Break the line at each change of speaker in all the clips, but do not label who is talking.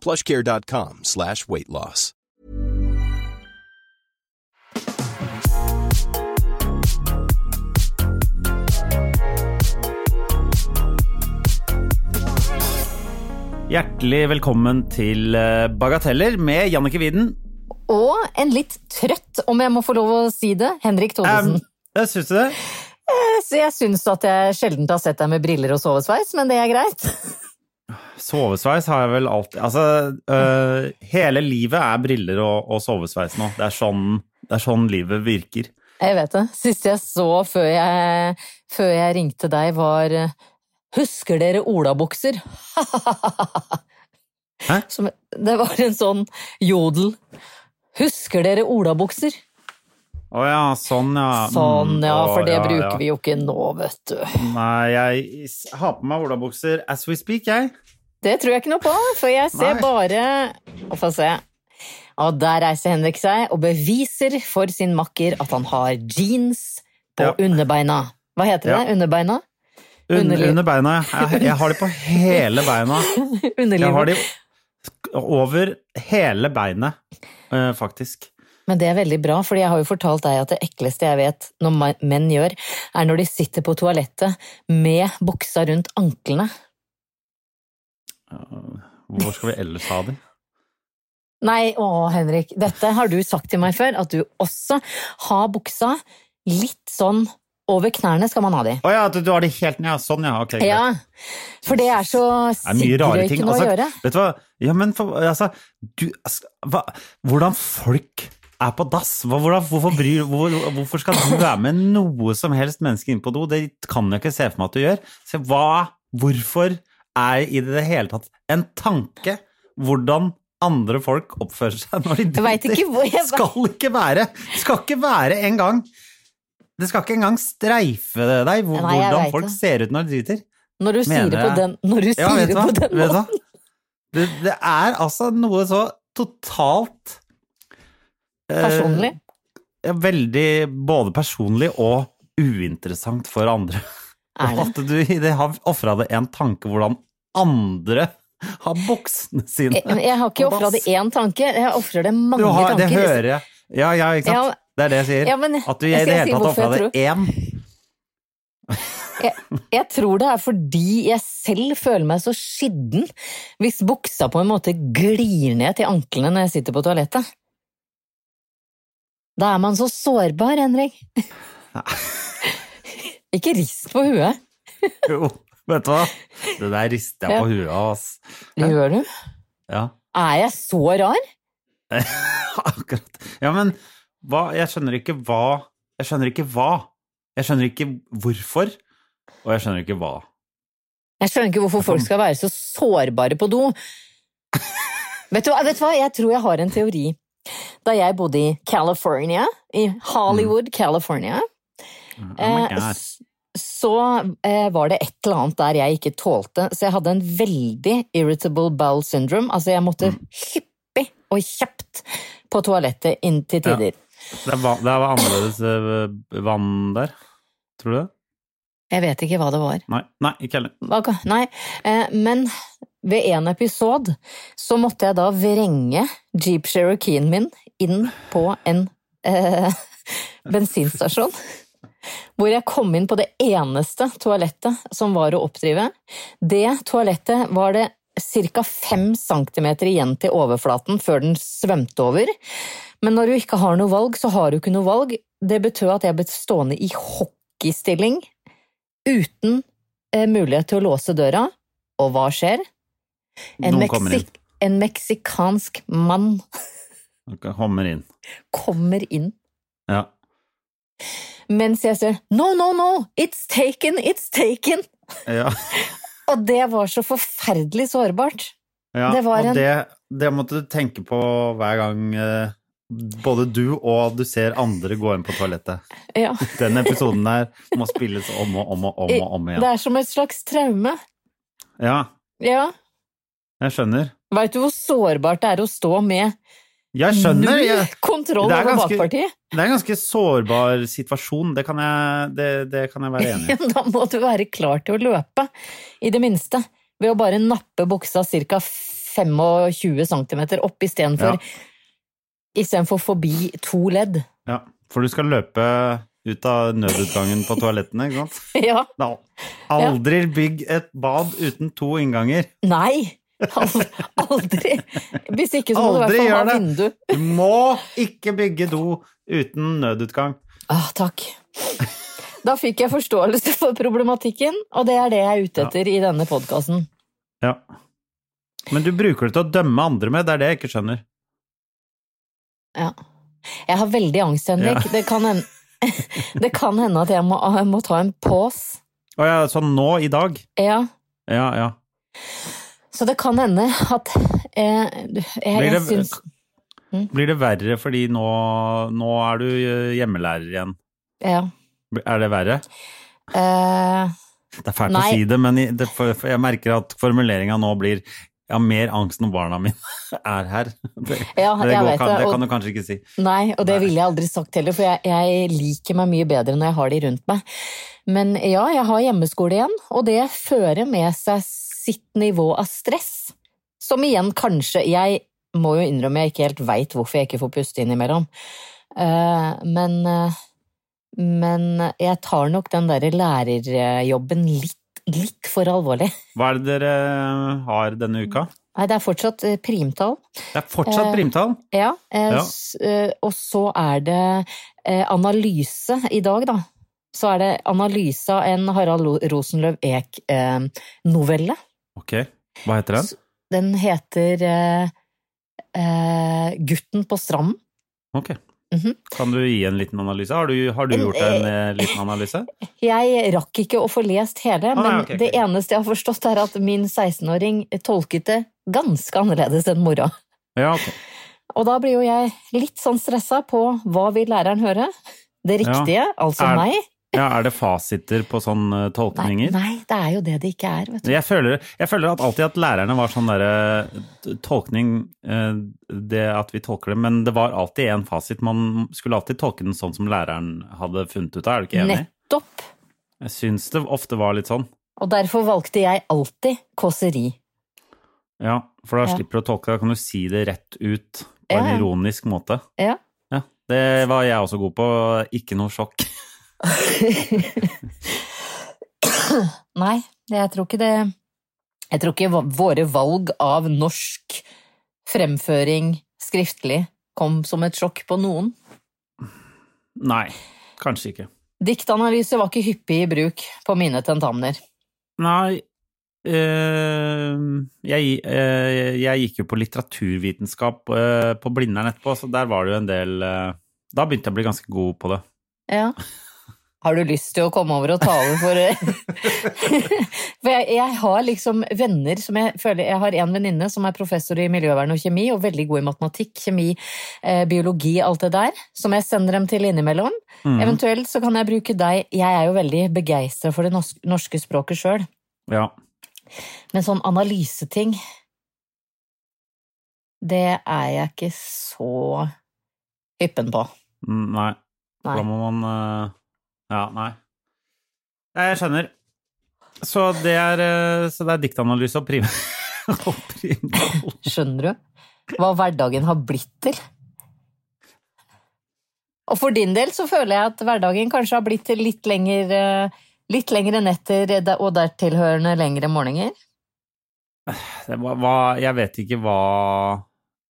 Plushcare.com slash weight loss.
Hjertelig velkommen til eh, Bagateller med Jannicke Widen.
Og en litt trøtt, om jeg må få lov å si det, Henrik Thodesen.
Jeg syns du det?
Så jeg syns at jeg sjelden har sett deg med briller og sovesveis, men det er greit.
Sovesveis har jeg vel alltid Altså, eh, hele livet er briller og, og sovesveis nå. Det er, sånn, det er sånn livet virker.
Jeg vet det. Siste jeg så før jeg, før jeg ringte deg, var eh, Husker dere olabukser?
Hæ?
Som, det var en sånn jodel. Husker dere olabukser?
Å ja, sånn ja. Mm,
Sånn, ja,
å,
for det
ja,
bruker
ja.
vi jo ikke nå, vet du.
Nei, jeg s- har på meg olabukser as we speak, jeg.
Det tror jeg ikke noe på, for jeg ser
Nei.
bare Å, Få se. Og der reiser Henrik seg og beviser for sin makker at han har jeans på
Ja.
underbeina. Hva heter
Ja.
det? Underbeina?
Under,
Underliv.
under beina. ja. Jeg, jeg har de på hele beina. Jeg har
Underlivet.
de over hele beinet, eh, faktisk.
Men det er veldig bra, for jeg har jo fortalt deg at det ekleste jeg vet når ma- menn gjør, er når de sitter på toalettet med buksa rundt anklene.
Hvor skal vi ellers ha de?
Nei, å Henrik, dette har du sagt til meg før, at du også har buksa litt sånn over knærne skal man ha de.
Å ja, du, du har de helt ned, ja. Sånn, ja. Ok, greit.
Ja, for det er så
Det er mye rare ting.
sigrøykende å
Altså,
gjøre.
Vet du hva? Ja, men for, altså, du, altså hva, Hvordan folk er på dass? Hva, hvordan, hvorfor, bryr, hvor, hvorfor skal du være med noe som helst menneske inn på do? Det kan jeg ikke se for meg at du gjør. Så hva, hvorfor er i det hele tatt en tanke hvordan andre folk oppfører seg når de
Jeg vet ikke hvor jeg var.
Skal ikke være Skal ikke være en gang Det skal ikke engang streife deg hvor,
Nei, jeg
hvordan
vet
folk
det.
ser ut når de driter.
Når du sier det på
jeg.
den, når du
Ja,
sier
vet du
det
hva?
på den
Vet du
måten.
hva? Det, det er altså noe så totalt eh,
Personlig.
ja, Veldig både personlig og uinteressant for andre.
Er det?
At du i det har ofra det en tanke hvordan andre har buksene sine.
Jeg, Eh, jeg har ikke
på
ofra det
dass.
én tanke, jeg ofrer det mange
Du har, det
tanker.
hører jeg. Ja, ja, ikke sant?
Ja,
det er det jeg sier.
ja, men
At du i
jeg
det
skal
hele
si
tatt
hvorfor
ofra det
jeg
én.
Jeg, jeg tror det er fordi jeg selv føler meg så skidden hvis buksa på en måte glir ned til anklene når jeg sitter på toalettet. Da er man så sårbar, Henrik. Ikke rist på huet.
Jo, vet du hva? Det der rister jeg på huet av, ass.
Gjør du?
Ja.
Er jeg så rar?
Akkurat. Ja, men hva Jeg skjønner ikke hva Jeg skjønner ikke hva. Jeg skjønner ikke hvorfor, og jeg skjønner ikke hva.
Jeg skjønner ikke hvorfor folk skal være så sårbare på do. vet, du, hva- vet du hva, jeg tror jeg har en teori. Da jeg bodde i California, i Hollywood, California,
Mm. Oh my
eh,
God.
s- så eh, var det et eller annet der jeg ikke tålte, så jeg hadde en veldig irritable bowel syndrome. Altså, jeg måtte
Mm.
hyppig og kjapt på toalettet inn til
Ja.
tider.
Det, var, det var annerledes eh, vann der. Tror du det?
Jeg vet ikke hva det var.
Nei, nei ikke heller.
Hva ka- Nei, eh, men ved en episode så måtte jeg da vrenge Jeep Cherokeeen min inn på en eh, bensinstasjon. Hvor jeg kom inn på det eneste toalettet som var å oppdrive. Det toalettet var det ca. 5 cm igjen til overflaten før den svømte over. Men når du ikke har noe valg, så har du ikke noe valg. Det betød at jeg ble stående i hockeystilling uten eh, mulighet til å låse døra, og hva skjer? En,
Noen kommer inn.
meksik en meksikansk mann
Noen Kommer inn.
kommer inn
Ja.
mens jeg sier no, no, no, it's taken, it's taken.
ja.
Og det var så forferdelig sårbart.
Ja,
Det var
og
en-
det, det måtte du tenke på hver gang eh, både du og du ser andre gå inn på toalettet.
Ja.
Den episoden der må spilles om og om og om, og om
Det
igjen.
er som et slags traume.
Ja,
Ja.
jeg skjønner.
Veit du hvor sårbart det er å stå med
Jeg skjønner! Jeg,
null kontroll
Det er
over
ganske-
bakpartiet?
det er en ganske sårbar situasjon, det kan jeg, det, det kan jeg være enig i.
Da må du være klar til å løpe, i det minste. Ved å bare nappe buksa ca. 25 cm opp istedenfor
Ja.
istedenfor forbi to ledd.
Ja, for du skal løpe ut av nødutgangen på toalettene, ikke sant?
Ja.
Da. Aldri bygg et bad uten to innganger.
Nei! Al- Aldri! Hvis ikke så må du i
Aldri
hvert fall ha
gjør det.
vindu.
Du må ikke bygge do uten nødutgang.
Ah, takk. Da fikk jeg forståelse for problematikken, og det er det jeg er ute
Ja.
etter i denne podkasten.
Ja. Men du bruker det til å dømme andre med, det er det jeg ikke skjønner.
Ja. Jeg har veldig angst, Henrik. Det, kan hende, det kan hende at jeg må, jeg må ta en pause.
Å ja, sånn nå i dag?
Ja.
Ja, ja.
Så det kan hende at eh, jeg,
Blir
jeg
det-
syns
Blir det verre fordi nå, nå er du eh, hjemmelærer igjen?
Ja.
Er det verre?
Eh,
Det er fælt
Nei.
å si det, men i- det, for, for jeg merker at formuleringa nå blir jeg har mer angst når barna mine er her. Det,
ja,
det,
jeg
går,
vet
kan,
det.
det
Og,
kan du kanskje ikke si.
Nei, og det
Nei.
ville jeg aldri sagt heller, for jeg, jeg liker meg mye bedre når jeg har de rundt meg. Men ja, jeg har hjemmeskole igjen, og det fører med seg sitt nivå av stress. Som igjen kanskje Jeg må jo innrømme jeg ikke helt veit hvorfor jeg ikke får puste innimellom. Eh, Men, eh, men jeg tar nok den derre lærerjobben litt, litt for alvorlig.
Hva er det dere eh, har denne uka?
Nei, det er fortsatt eh, primtall.
Det er fortsatt
Eh,
primtall.
Ja, eh,
Ja.
s- eh, og så er det eh, analyse i dag, da. Så er det analyse av en Harald Lo- Rosenløv eh, Eek-novelle.
Ok, hva heter den?
s- Den heter eh, eh, Gutten på stranden.
Ok.
Mhm.
Kan du gi en liten analyse? Har du, har du gjort en eh, liten analyse?
Jeg rakk ikke å få lest hele,
Ah, nei,
men
ok, ok.
det eneste jeg har forstått, er at min 16-åring tolket det ganske annerledes enn mora.
Ja, ok.
Og da blir jo jeg litt sånn stressa på hva vil læreren høre? Det
Ja.
riktige, altså
Er-
meg.
Ja, er det fasiter på sånne
Nei,
tolkninger?
nei, det er jo det det ikke er, vet du.
Jeg føler, jeg føler at alltid at lærerne var sånn derre t- tolkning eh, Det at vi tolker det, men det var alltid en fasit. Man skulle alltid tolke den sånn som læreren hadde funnet ut av, er du ikke enig?
Nettopp.
Jeg syns det ofte var litt sånn.
Og derfor valgte jeg alltid kåseri.
Ja, for da
Ja.
slipper du å tolke, da kan du si det rett ut på
Ja,
en
ja.
ironisk måte.
Ja.
Ja, det var jeg også god på. Ikke noe sjokk.
Nei, jeg tror ikke det Jeg tror ikke va- våre valg av norsk fremføring skriftlig kom som et sjokk på noen.
Nei, kanskje ikke.
Diktanalyse var ikke hyppig i bruk på mine tentamener.
Nei eh, jeg, eh, jeg gikk jo på litteraturvitenskap eh, på Blindern etterpå, så der var det jo en del eh, Da begynte jeg å bli ganske god på det.
Ja. Har du lyst til å komme over og tale for eh, For jeg, jeg har liksom venner som jeg føler Jeg har en venninne som er professor i miljøvern og kjemi, og veldig god i matematikk, kjemi, eh, biologi, alt det der, som jeg sender dem til innimellom.
Mhm,
Eventuelt så kan jeg bruke deg Jeg er jo veldig begeistra for det norsk- norske språket sjøl,
ja.
men sånn analyseting Det er jeg ikke så hyppen på.
Mm, Nei.
Nei.
Da må man eh, Ja, nei. Nei, jeg skjønner. Så det er, eh, så det er diktanalyse og prim... og primtall.
Skjønner du hva hverdagen har blitt til? Og for din del så føler jeg at hverdagen kanskje har blitt til litt lengre, litt lengre netter eh, og dertilhørende lengre morgener.
Det var- hva- Jeg vet ikke hva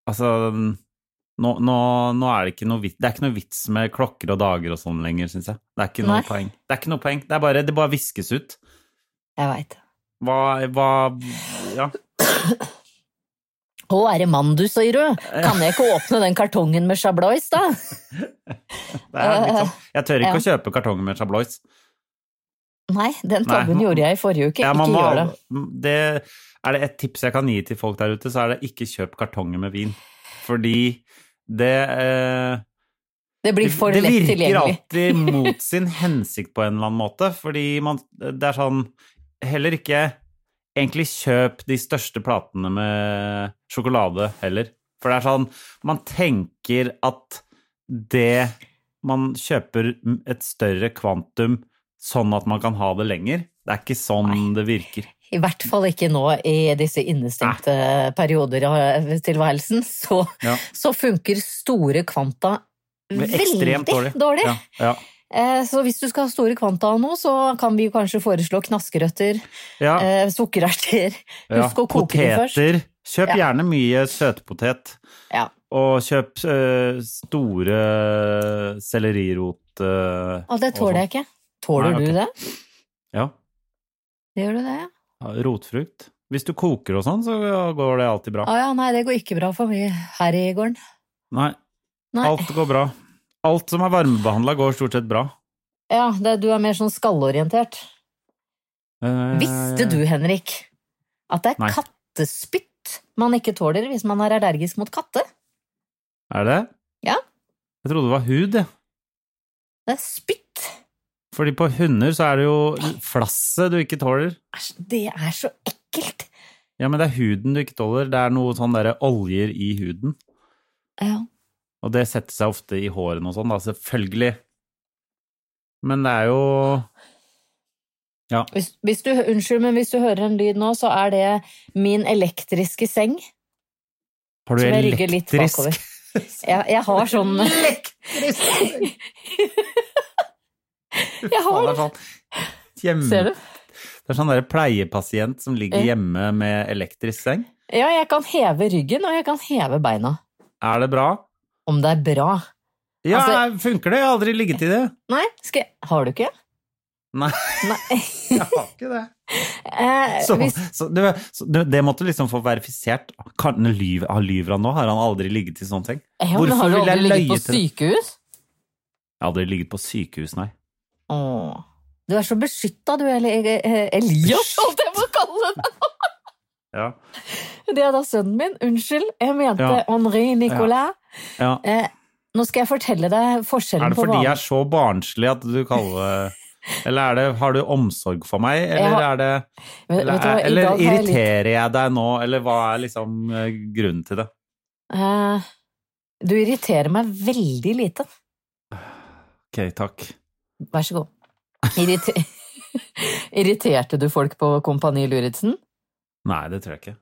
Altså, nå, nå, nå er det ikke noe vits Det er ikke noe vits med klokker og dager og sånn lenger, syns jeg. Det er ikke noe
Nei.
poeng. Det er ikke noe poeng. Det er bare, det bare viskes ut.
Jeg veit.
Hva, hva Ja.
Å, er det mann du sier, du? Kan jeg ikke åpne den kartongen med sjablais, da?
Det er litt sånn. Jeg tør ikke å kjøpe kartonger med shablois.
Nei, den
Nei,
tabben
man-
gjorde jeg i forrige uke.
Ja, man
ikke
må
gjør det.
al- det. er det et tips jeg kan gi til folk der ute, så er det ikke kjøp kartonger med vin. Fordi det eh,
Det blir for
det
lett
virker
tilgjengelig.
alltid mot sin hensikt på en eller annen måte, fordi man, det er sånn Heller ikke egentlig kjøp de største platene med sjokolade heller. For det er sånn Man tenker at det Man kjøper et større kvantum sånn at man kan ha det lenger. Det er ikke sånn det virker.
I hvert fall ikke nå i disse innestengte perioder av tilværelsen. Så,
Ja.
så funker store kvanta
Det er
veldig
ekstremt
dårlig.
dårlig. Ja, ja.
Eh, Så hvis du skal ha store kvanta av noe, så kan vi jo kanskje foreslå knaskerøtter,
Ja.
eh, sukkererter.
Ja,
Husk å koke de først.
Poteter. Kjøp
Ja.
gjerne mye søtpotet.
Ja.
Og kjøp eh, store eh, sellerirot eh,
Å, det
og
tåler
sånt.
jeg ikke. Tåler
Nei, ok.
du det?
Ja.
Gjør du det? ja?
ja, Rotfrukt. Hvis du koker og sånn, så går det alltid bra.
Å ja, nei, det går ikke bra for meg her i gården.
Nei,
Nei.
alt går bra. Alt som er varmebehandla, går stort sett bra.
Ja, det, du er mer sånn skallorientert.
Eh,
Visste du, Henrik, at det er
Nei.
kattespytt man ikke tåler hvis man er allergisk mot katter?
Er det?
Ja.
Jeg trodde det var hud, jeg.
Det er spytt.
Fordi på hunder så er det jo flasset du ikke tåler.
Æsj, det er så ekkelt.
Ja, men det er huden du ikke tåler. Det er noe sånn derre oljer i huden.
Ja.
Og det setter seg ofte i hårene og sånn, da, selvfølgelig. Men det er jo
Hvis, hvis du, unnskyld, men hvis du hører en lyd nå, så er det min elektriske seng.
Har du
som jeg rygger litt
elektrisk
bakover. Jeg, jeg har sånn
Elektrisk!
Jeg har
det. Er sånn, hjemme,
Ser du?
Det er sånn derre pleiepasient som ligger
Ja.
hjemme med elektrisk seng.
Ja, jeg kan heve ryggen, og jeg kan heve beina.
Er det bra?
Om det er bra.
Ja,
Altså-
funker det? Jeg har aldri ligget i det.
Nei, skal jeg Har du ikke?
Nei,
Nei.
jeg har ikke det.
Eh,
Så,
hvis,
så, det, så det, det måtte liksom få verifisert. Kan, lyver, han lyver han nå? Har han aldri ligget i sånne ting?
ja, men
hvorfor
har du
vil jeg
aldri ligget på
løye til-
sykehus?
Jeg har aldri ligget på sykehus, nei.
Åh. Du er så beskytta, du, Eli- eh, Elias, holdt jeg på å kalle det.
Ja.
Det er da sønnen min. Unnskyld, jeg mente
Ja.
Henri Nicolas.
ja.
Eh, nå skal jeg fortelle deg
Er
forskjellen
det
på
fordi jeg
vanlig
er så barnslig at du kaller Eller er det, har du omsorg for meg, eller,
har-
er det,
Vet-
eller,
vet du hva, i
eller
dag har jeg litt-
irriterer jeg deg nå, eller hva er liksom eh, grunnen til det?
Eh, du irriterer meg veldig lite.
Ok, takk.
Vær så god. Irrite Irriterte du folk på Kompani Luritzen?
Nei, det tror jeg ikke.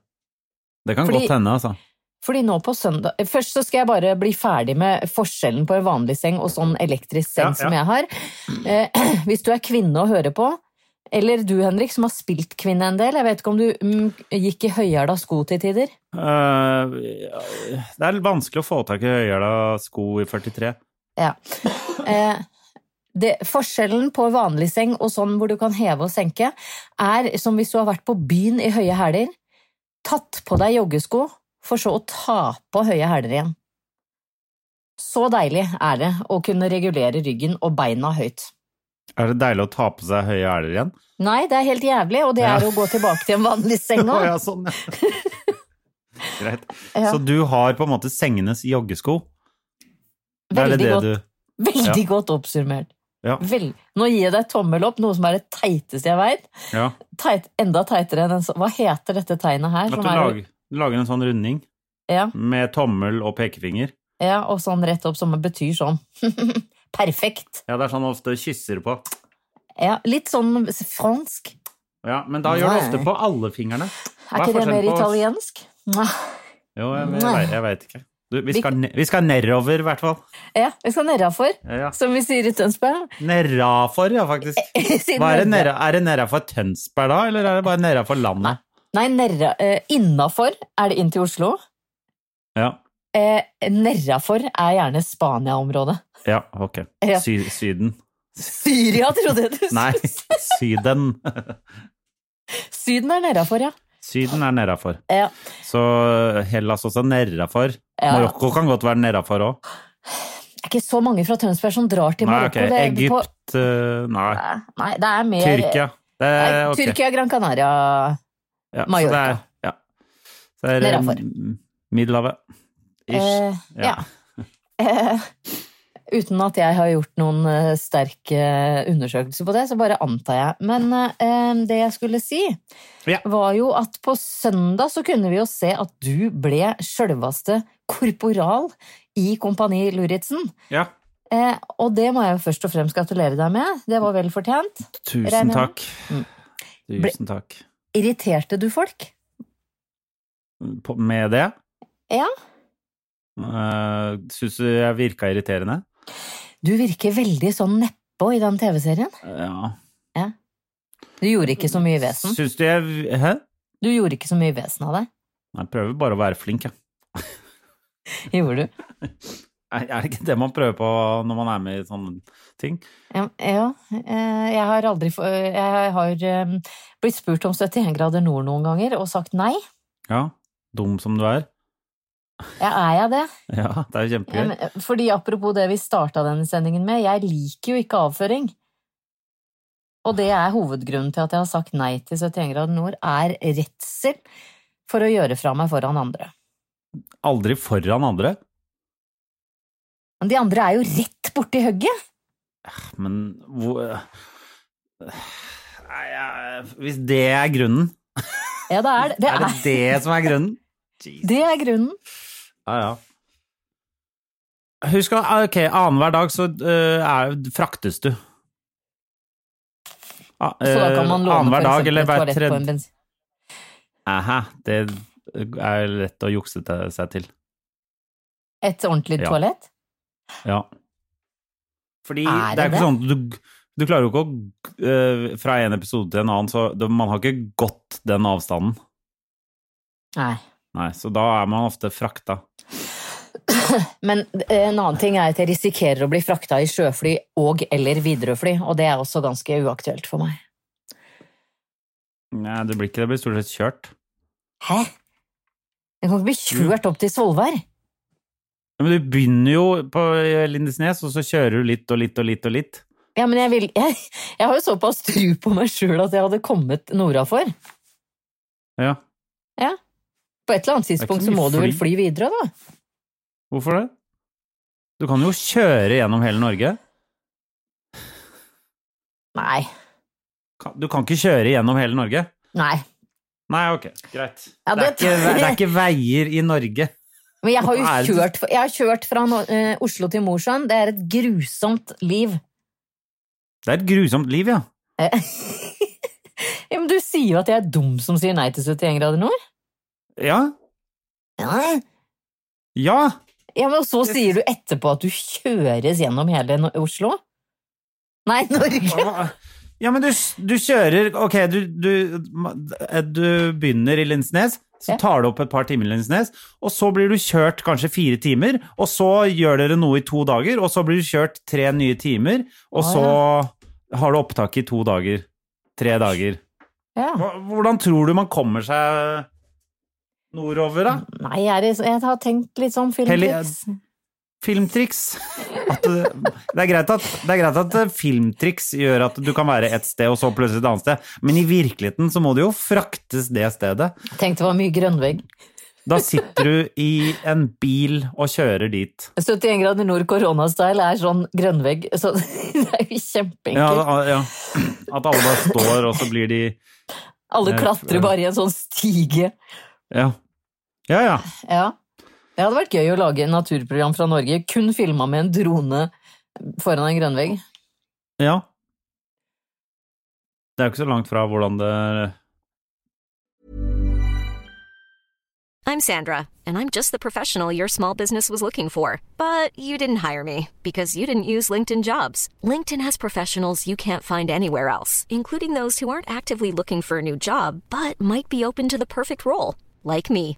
Det kan
Fordi-
godt hende, altså.
Fordi nå på søndag Først så skal jeg bare bli ferdig med forskjellen på en vanlig seng og sånn elektrisk seng
Ja, ja.
som jeg har. Eh, hvis du er kvinne og hører på, eller du Henrik som har spilt kvinne en del, jeg vet ikke om du mm, gikk i høyhæla sko til tider.
Eh, det er vanskelig å få tak i høyhæla sko i 43.
Ja. Eh, det, forskjellen på vanlig seng og sånn hvor du kan heve og senke, er som hvis du har vært på byen i høye hæler, tatt på deg joggesko, for så å ta på høye hæler igjen. Så deilig er det å kunne regulere ryggen og beina høyt.
Er det deilig å ta på seg høye hæler igjen?
Nei, det er helt jævlig, og det
Ja.
er å gå tilbake til en vanlig seng
Å,
òg.
ja, sånn, ja. Greit.
Ja.
Så du har på en måte sengenes joggesko? Det er
Veldig
det det
godt.
du
Veldig godt oppsummert.
Ja.
Vel, nå gir jeg deg tommel opp, noe som er det teiteste jeg veit.
Ja.
Teit, enda teitere enn en sånn Hva heter dette tegnet her?
At
som
du
er-
lager, du lager en sånn runding
Ja.
med tommel og pekefinger.
Ja, og sånn rett opp som betyr sånn. Perfekt.
Ja, det er sånn ofte kysser på.
Ja, litt sånn fransk.
Ja, men da gjør du
Nei.
ofte på alle fingrene.
Er
Hva er
ikke det mer
forskjellen på-
italiensk?
Jo, jeg, jeg,
Nei.
vei- jeg veit ikke. Du, vi, skal, ne- vi skal nedover, i hvert fall.
Ja, vi skal nedafor,
Ja.
som vi sier i Tønsberg.
Nedafor, ja, faktisk.
Siden
Hva er det nera,
Nerra-
er det nedafor Tønsberg, da, eller er det bare nedafor landet?
Nei, nerra, eh, innafor er det inn til Oslo.
Ja,
Eh, nerrafor er gjerne Spania-området.
ja ok.
Ja.
Sy, syden.
Syria, trodde jeg du skulle
Nei,
si.
Syden.
Syden er nedafor, ja.
Syden er nedafor.
Ja.
Så Hellas også nedafor.
Ja.
Marokko kan godt være nedafor òg.
Det er ikke så mange fra Tønsberg som drar til
Nei, ok.
Marokko. det- på-
Egypt eh, Nei.
Nei, det er mer
Tyrkia. Det er,
Nei,
ok.
Tyrkia, Gran Canaria
Ja, så det
Mallorca.
er, Det er
Nedafor.
mm, Middelhavet. Ish.
Eh, ja. Eh, uten at jeg har gjort noen eh, sterk eh, undersøkelse på det, så bare antar jeg. Men eh, det jeg skulle si,
Ja.
var jo at på søndag så kunne vi jo se at du ble sjølveste korporal i Kompani Luritzen.
ja.
Eh, og det må jeg jo først og fremst gratulere deg med. Det var vel fortjent. Regner
Tusen
med.
takk.
Mm.
Tusen takk.
Irriterte du folk?
På, med det?
Ja.
Uh, Syns du jeg virka irriterende?
Du virker veldig sånn nedpå i den TV-serien.
Ja.
Du gjorde ikke så mye vesen.
Syns du jeg Hæ?
Du gjorde ikke så mye vesen av det.
Jeg prøver bare å være flink, jeg.
Gjorde du?
Er er det ikke det man prøver på når man er med i sånne ting?
Ja, ja. eh, Jeg har aldri få- eh, Jeg har eh, blitt spurt om 71 grader nord noen ganger og sagt nei.
Ja. Dum som du er.
Ja, er jeg det?
Ja, det er jo kjempegøy.
Ja, men, eh, Fordi apropos det vi starta denne sendingen med, jeg liker jo ikke avføring. Og det er hovedgrunnen til at jeg har sagt nei til 71 grader nord, er redsel for å gjøre fra meg foran andre.
Aldri foran andre.
Men de andre er jo rett borti hugget!
Men hvor eh, Nei, jeg- Hvis det er grunnen
Ja, det er det. Det
Er det
er,
det som er grunnen? Jesus.
det er grunnen.
Ja, ja. Husk at ok, annenhver dag så eh, er, fraktes du. Ah,
Så da kan man
eh,
låne
annenhver
for
dag
eksempel
eller
et
hver
toalett på en
tredje
bensin...
Aha, Det er lett å jukse til- seg til.
Et ordentlig
Ja.
toalett?
Ja. Fordi
Er
det, er
det
ikke sånn at du, du klarer jo ikke å eh, Fra en episode til en annen, så det, man har ikke gått den avstanden.
Nei.
Nei, så da er man ofte frakta.
Men eh, en annen ting er at jeg risikerer å bli frakta i sjøfly og eller Widerøe-fly, og det er også ganske uaktuelt for meg.
Nei, det blir ikke det. Det blir stort sett kjørt.
Hæ? Jeg kan ikke bli kjørt opp til Svolvær.
Ja, Men du begynner jo på Lindesnes, og så kjører du litt og litt og litt og litt.
Ja, men jeg, vil, jeg, jeg har jo såpass tru på meg sjøl at jeg hadde kommet nordafor.
Ja.
På et eller annet
er ikke
tidspunkt
så
så må
mye
du vel
fly.
fly videre, da.
Hvorfor det? Du kan jo kjøre gjennom hele Norge.
Nei.
Kan- Du kan ikke kjøre gjennom hele Norge.
Nei.
Nei, ok, greit. det,
Ja,
er
det-
ikke, ve- det er ikke veier i Norge.
Men jeg har
Hva er det?
jo kjørt, jeg har kjørt fra Nor- eh, Oslo til Mosjøen. Det er et grusomt liv. Eh.
Det er et grusomt liv, ja.
Ja, men du sier jo at jeg er dum som sier nei til 71 grader nord.
Ja.
Ja.
Ja.
Ja, men så sier du etterpå at du kjøres gjennom hele No- Oslo? Nei, Norge!
Ja, men du, du kjører Ok, du, du, du begynner i Lindesnes, så
Ja.
tar du opp et par timer i Lindesnes, og så blir du kjørt kanskje fire timer, og så gjør dere noe i to dager, og så blir du kjørt tre nye timer, og
Å,
så har du opptak i to dager. Tre dager.
Ja.
Hva- Hvordan tror du man kommer seg nordover, da?
Nei, jeg, er, i- jeg har tenkt litt sånn filmtriks.
Filmtriks. At du, det, er greit at, det er greit at eh, filmtriks gjør at du kan være et sted og så plutselig et annet sted, men i virkeligheten så må du jo fraktes det stedet.
Tenkte det var mye grønnvegg.
Da sitter du i en bil og kjører dit.
71 grader nord koronastyle er sånn grønnvegg, så det er jo
Ja,
kjempeenkelt.
ja. At alle bare står, og så blir de
Alle
jeg-
klatrer bare i en sånn stige.
Ja. Ja, ja.
Ja. Det hadde vært gøy å lage en naturprogram fra Norge, kun filma med en drone foran en grønnvegg.
ja. Det er jo ikke så langt fra hvordan det
I'm Sandra, and I'm just the professional your small business was looking for. But you didn't hire me because you didn't use LinkedIn jobs. LinkedIn has professionals you can't find anywhere else, including those who aren't actively looking for a new job but might be open to the perfect role, like me.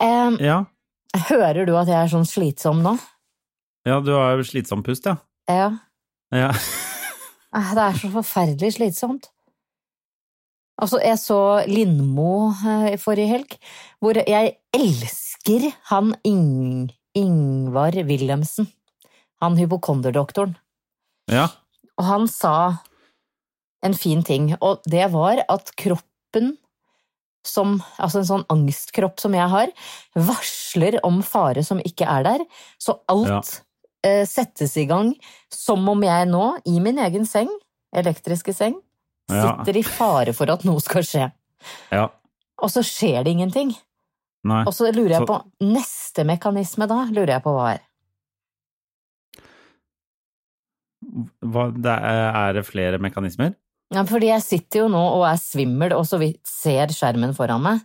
Eh,
ja.
hører du at jeg er sånn slitsom nå?
Ja, du har jo slitsom pust, ja.
Ja.
ja.
Eh, Det er så forferdelig slitsomt. Altså, jeg så Lindmo eh, forrige helg, hvor jeg elsker han Ing Ingvar Wilhelmsen. Han hypokonderdoktoren.
Ja.
Og han sa en fin ting, og det var at kroppen som, altså en sånn angstkropp som jeg har, varsler om fare som ikke er der. Så alt eh, settes i gang som om jeg nå, i min egen seng, elektriske seng,
Ja.
sitter i fare for at noe skal skje.
ja.
Og så skjer det ingenting.
Nei.
Og så lurer jeg
Så-
på Neste mekanisme da, lurer jeg på hva er.
Hva, det er, er det flere mekanismer?
Ja, fordi jeg sitter jo nå og er svimmel og så vidt ser skjermen foran meg.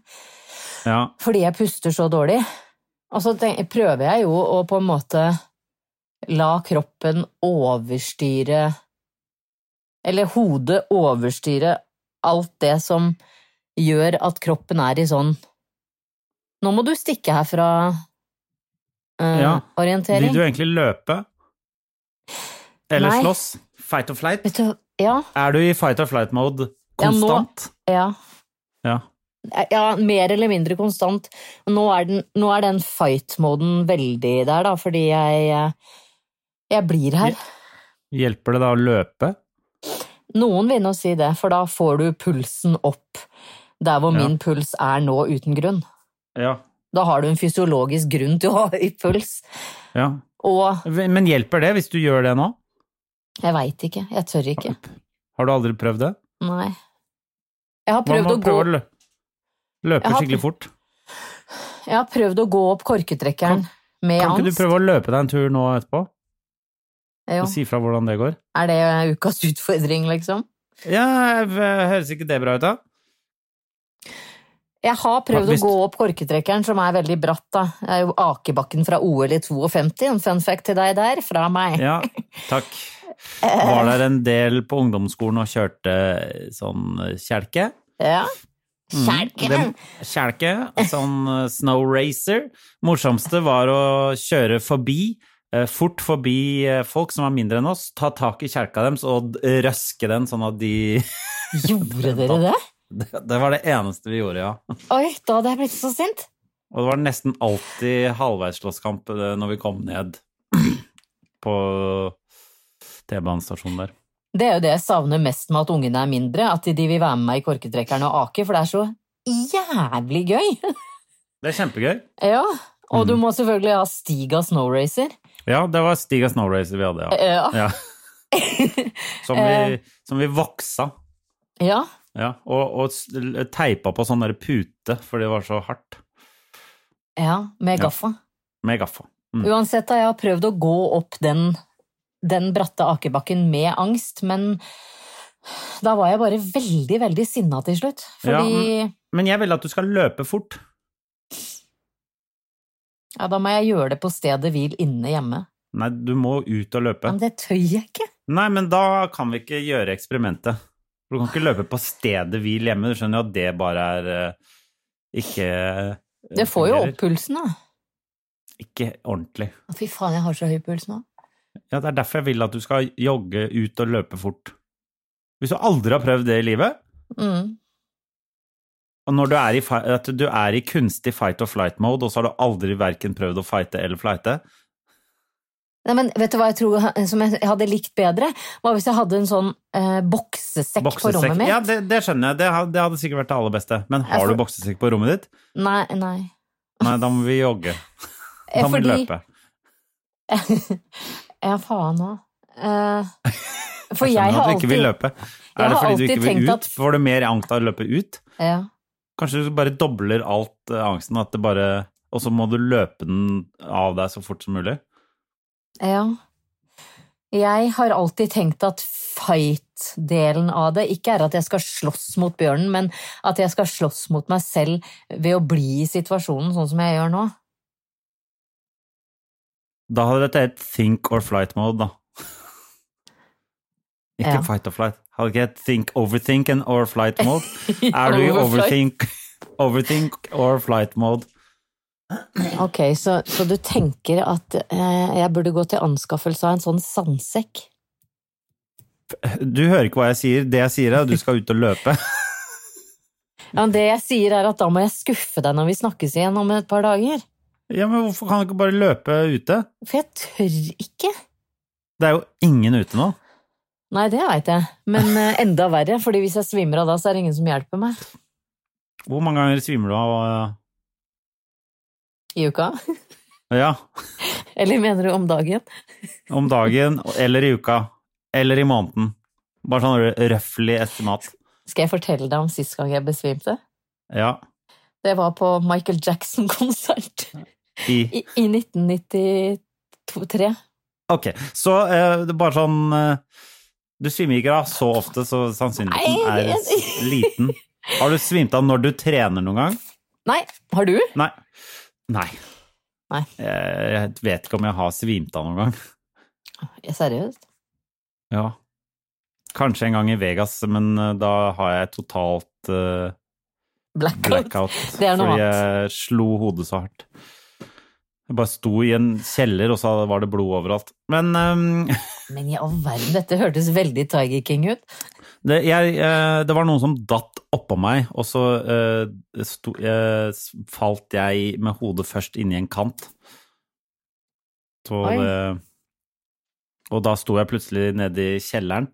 Ja.
fordi jeg puster så dårlig. Og så tenk, prøver jeg jo å på en måte la kroppen overstyre Eller hodet overstyre alt det som gjør at kroppen er i sånn Nå må du stikke eh, herfra-orientering.
Ja. Vil du egentlig løpe? Eller
Nei.
slåss? Fight or flight?
Vet du, ja,
Er du i fight or flight-mode
Ja, nå-
konstant?
ja.
Ja.
Ja, mer eller mindre konstant. Nå er den, nå er den fight-moden veldig der, da, fordi jeg eh, Jeg blir her.
Hjelper det da å løpe?
Noen vil nå si det, for da får du pulsen opp der hvor
Ja.
min puls er nå uten grunn.
Ja.
Da har du en fysiologisk grunn til å ha høy puls.
ja.
Og
Men hjelper det hvis du gjør det nå?
jeg veit ikke, jeg tør ikke.
Har du aldri prøvd det?
Nei. Jeg har
Hva om
prøvd å
man
gå,
prøver å lø- løpe
Jeg har-
skikkelig fort?
jeg har prøvd å gå opp korketrekkeren med
Kan ikke du
angst.
prøve å løpe deg en tur nå etterpå?
Jo.
Og si fra hvordan det går?
Er det ukas utfordring, liksom?
Ja, jeg- høres ikke det bra ut, da?
Jeg har prøvd
Hvis-
å gå opp korketrekkeren, som er veldig bratt, da. Det er jo akebakken fra OL i 52, en fun fact til deg der, fra meg.
Ja, takk. Var der en del på ungdomsskolen og kjørte sånn kjelke.
Ja.
Mm,
Kjelken!
Det- Kjelke, sånn snow racer. Morsomste var å kjøre forbi, eh, fort forbi eh, folk som var mindre enn oss, ta tak i kjelka deres og d- røske den sånn at de
Gjorde dere det?
Det var det eneste vi gjorde, ja.
Oi, da hadde jeg blitt så sint.
Og det var nesten alltid halvveisslåsskamp eh, når vi kom ned på T-banestasjonen der.
Det er jo det jeg savner mest med at ungene er mindre, at de vil være med meg i korketrekkeren og ake, for det er så jævlig gøy.
Det er kjempegøy.
Ja, og
Mm.
du må selvfølgelig ha Stiga Snow Racer.
Ja, det var Stiga Snow Racer vi hadde, ja.
Ja.
Ja. Som
Eh.
vi, som vi voksa.
Ja,
Ja, og, og s- l- teipa på sånn der pute, for det var så hardt.
ja med
Ja.
gaffa.
Med gaffa. Mm.
Uansett, da, jeg har prøvd å gå opp den, den bratte akebakken med angst, men da var jeg bare veldig, veldig sinna til slutt.
Ja, mm.
Fordi ja,
Men jeg vil at du skal løpe fort.
da må jeg gjøre det på stedet hvil inne hjemme.
Nei, du må ut og løpe.
Men det tør jeg ikke.
Nei, men da kan vi ikke gjøre eksperimentet. For Du kan ikke løpe på stedet hvil hjemme. Du skjønner jo at det bare er eh, ikke eh,
Det får jo
fungerer.
opp pulsen, da.
Ikke ordentlig.
Fy faen, jeg har så høy puls nå.
Ja, Det er derfor jeg vil at du skal jogge ut og løpe fort. Hvis du aldri har prøvd det i livet,
Mm.
Og når du er i, fi- at du er i kunstig fight or flight mode, og så har du aldri verken prøvd å fighte eller flighte
Nei, men vet du hva jeg tror som jeg hadde likt bedre? Var hvis jeg hadde en sånn eh, boksesekk, på
Boksesekk
rommet mitt.
Ja, det, det skjønner jeg. Det, ha- det hadde sikkert vært det aller beste. Men har
for-
du boksesekk på rommet ditt?
Nei, nei.
Nei, da må vi jogge.
Eh,
Da må vi
fordi-
løpe.
Ja, faen òg. for
Jeg
jeg
skjønner
har
at du ikke
alltid
vil løpe.
Jeg
Er det fordi
har
du
alltid
ikke vil
tenkt
ut?
at-
Får du mer angst av å løpe ut?
Ja.
Kanskje du bare dobler alt eh, angsten, at det bare Og så må du løpe den av deg så fort som mulig.
Ja. Jeg har alltid tenkt at fight-delen av det ikke er at jeg skal slåss mot bjørnen, men at jeg skal slåss mot meg selv ved å bli i situasjonen sånn som jeg gjør nå.
Da hadde dette hett think or flight mode, da. Ikke
Ja.
fight or flight. Hadde ikke hett think, overthink and or flight mode. Er du i
Overflight.
overthink, overthink or flight mode?
Ok, så, så du tenker at eh, jeg burde gå til anskaffelse av en sånn sandsekk?
Du hører ikke hva jeg sier. Det jeg sier, er at du skal ut og løpe.
Ja, men det jeg sier er at da må jeg skuffe deg når vi snakkes igjen om et par dager.
Ja, men hvorfor kan du ikke bare løpe ute?
For jeg tør ikke.
Det er jo ingen ute nå.
Nei, det veit jeg, men eh, enda verre, fordi hvis jeg svimer av da, så er det ingen som hjelper meg.
Hvor mange ganger svimer du av?
I uka?
eh, Ja,
Eller mener du om dagen?
om dagen eller i uka. Eller i måneden. Bare sånn røffelig estimat.
Skal jeg fortelle deg om sist gang jeg besvimte?
Ja,
Det var på Michael Jackson-konsert
i
i, i 1993.
Ok, så eh, det er bare sånn eh, Du svimer ikke av så ofte, så sannsynligheten
Nei,
er
jeg-
s- liten. Har du svimt av når du trener noen gang?
Nei, har du?
Nei. Nei.
Nei.
Jeg, jeg vet ikke om jeg har svimt av noen gang.
Ja, Seriøst?
Ja. Kanskje en gang i Vegas, men eh, da har jeg totalt eh,
Blackout.
blackout.
Det er noe
fordi
annet.
jeg slo hodet så hardt. Jeg bare sto i en kjeller, og så var det blod overalt. Men ehm,
Men i all verden, dette hørtes veldig Tiger King ut.
Det, jeg, eh, det var noen som datt oppå meg, og så eh, sto, eh, s- falt jeg med hodet først inni en kant. Så
Oi.
det, og da sto jeg plutselig nede i kjelleren,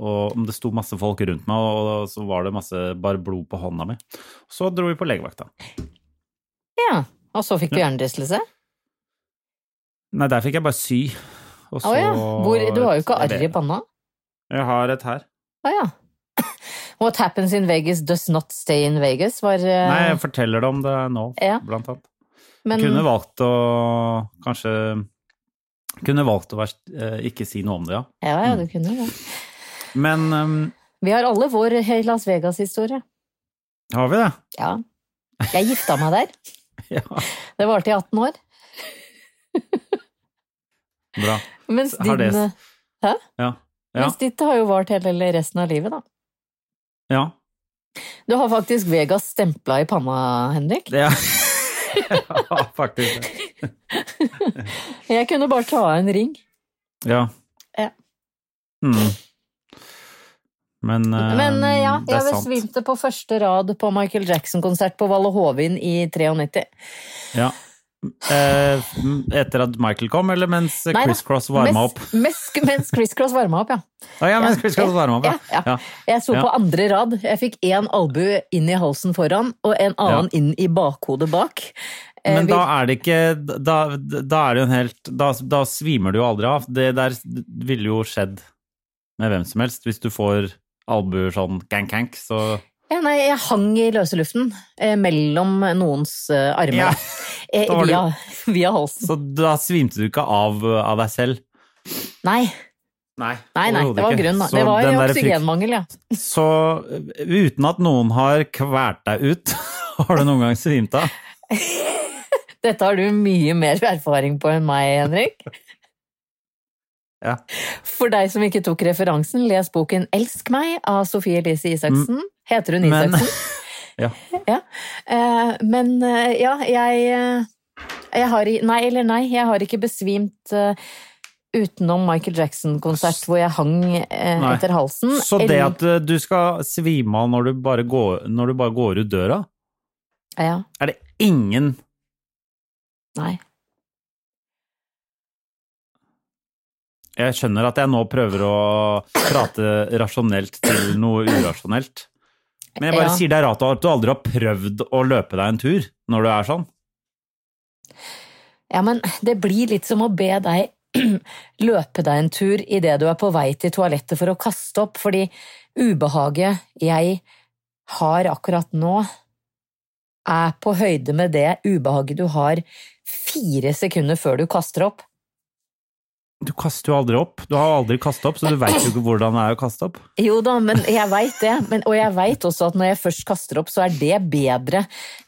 og det sto masse folk rundt meg, og, og så var det masse bare blod på hånda mi. Så dro vi på legevakta.
Ja, og så fikk du hjernerystelse?
Nei, der fikk jeg bare sy. og
Å
så-
ja. Hvor, du har jo ikke arr i panna.
Jeg har et her.
Å ja. What happens in Vegas does not stay in Vegas, var eh,
Nei, jeg forteller det om det nå,
Ja.
blant annet.
men,
Kunne valgt å kanskje Kunne valgt å være, eh, ikke si noe om det, ja.
Ja, ja,
Mm.
du kunne det.
Men ehm,
Vi har alle vår eh, Las Vegas-historie.
har vi det?
Ja. Jeg gifta meg der.
Ja.
Det varte i 18 år.
Bra.
Mens
Har
din,
det-
eh,
Ja. Ja.
mens ditt har jo vart hele resten av livet, da.
ja.
Du har faktisk Vegas stempla i panna, Henrik.
Det er ja, faktisk det.
Jeg kunne bare ta av en ring.
Ja.
Ja.
Mm. Men, ehm,
Men eh, ja,
det
jeg
er sant.
besvimte på første rad på Michael Jackson-konsert på Valle Hovin i 93.
Ja. Eh, m- etter at Michael kom, eller mens
Nei da,
Chris Cross varma
mens-
opp?
Mens, mens Chris Cross varma opp, ja.
Å ja, mens Chris Cross varma opp,
Ja,
ja.
ja.
ja.
Jeg sto
Ja.
på andre rad. Jeg fikk én albue inn i halsen foran og en annen inn i bakhodet bak. Eh,
Men
vi-
da er det ikke Da, da er det jo en helt da, da svimer du jo aldri av. Det der ville jo skjedd med hvem som helst. Hvis du får albuer sånn gank-gank, så
ja, nei, jeg hang i løse luften eh, mellom noens eh, armer.
Ja.
da. Eh,
Da var det-
via, via halsen.
Så da svimte du ikke av uh, av deg selv?
Nei,
Nei,
nei, nei det var grunn. da. Det var oksygenmangel, ja.
Så uh, uten at noen har kvært deg ut, har du noen gang svimt av?
Dette har du mye mer erfaring på enn meg, Henrik.
Ja.
For deg som ikke tok referansen, les boken Elsk meg av Sofie Elise Isaksen. Heter hun
Mm. Men-
Isaksen?
Ja.
ja. Eh, men eh, ja, jeg, eh, jeg har i- Nei eller nei, jeg har ikke besvimt eh, utenom Michael Jackson-konsert hvor jeg hang eh,
Nei.
etter halsen.
Så det
Eller-
at uh, du skal svime av når du bare går, når du bare går ut døra,
Ja,
er det ingen
nei.
Jeg skjønner at jeg nå prøver å prate rasjonelt til noe urasjonelt. Men jeg bare
Ja.
sier det er rart at du aldri har prøvd å løpe deg en tur når du er sånn.
Ja, men det blir litt som å be deg løpe deg en tur idet du er på vei til toalettet for å kaste opp, fordi ubehaget jeg har akkurat nå, er på høyde med det ubehaget du har fire sekunder før du kaster opp.
Du kaster jo aldri opp. Du har aldri kastet opp, så du veit jo ikke hvordan det er å kaste opp.
Jo da, men jeg veit det. Men, og jeg veit også at når jeg først kaster opp, så er det bedre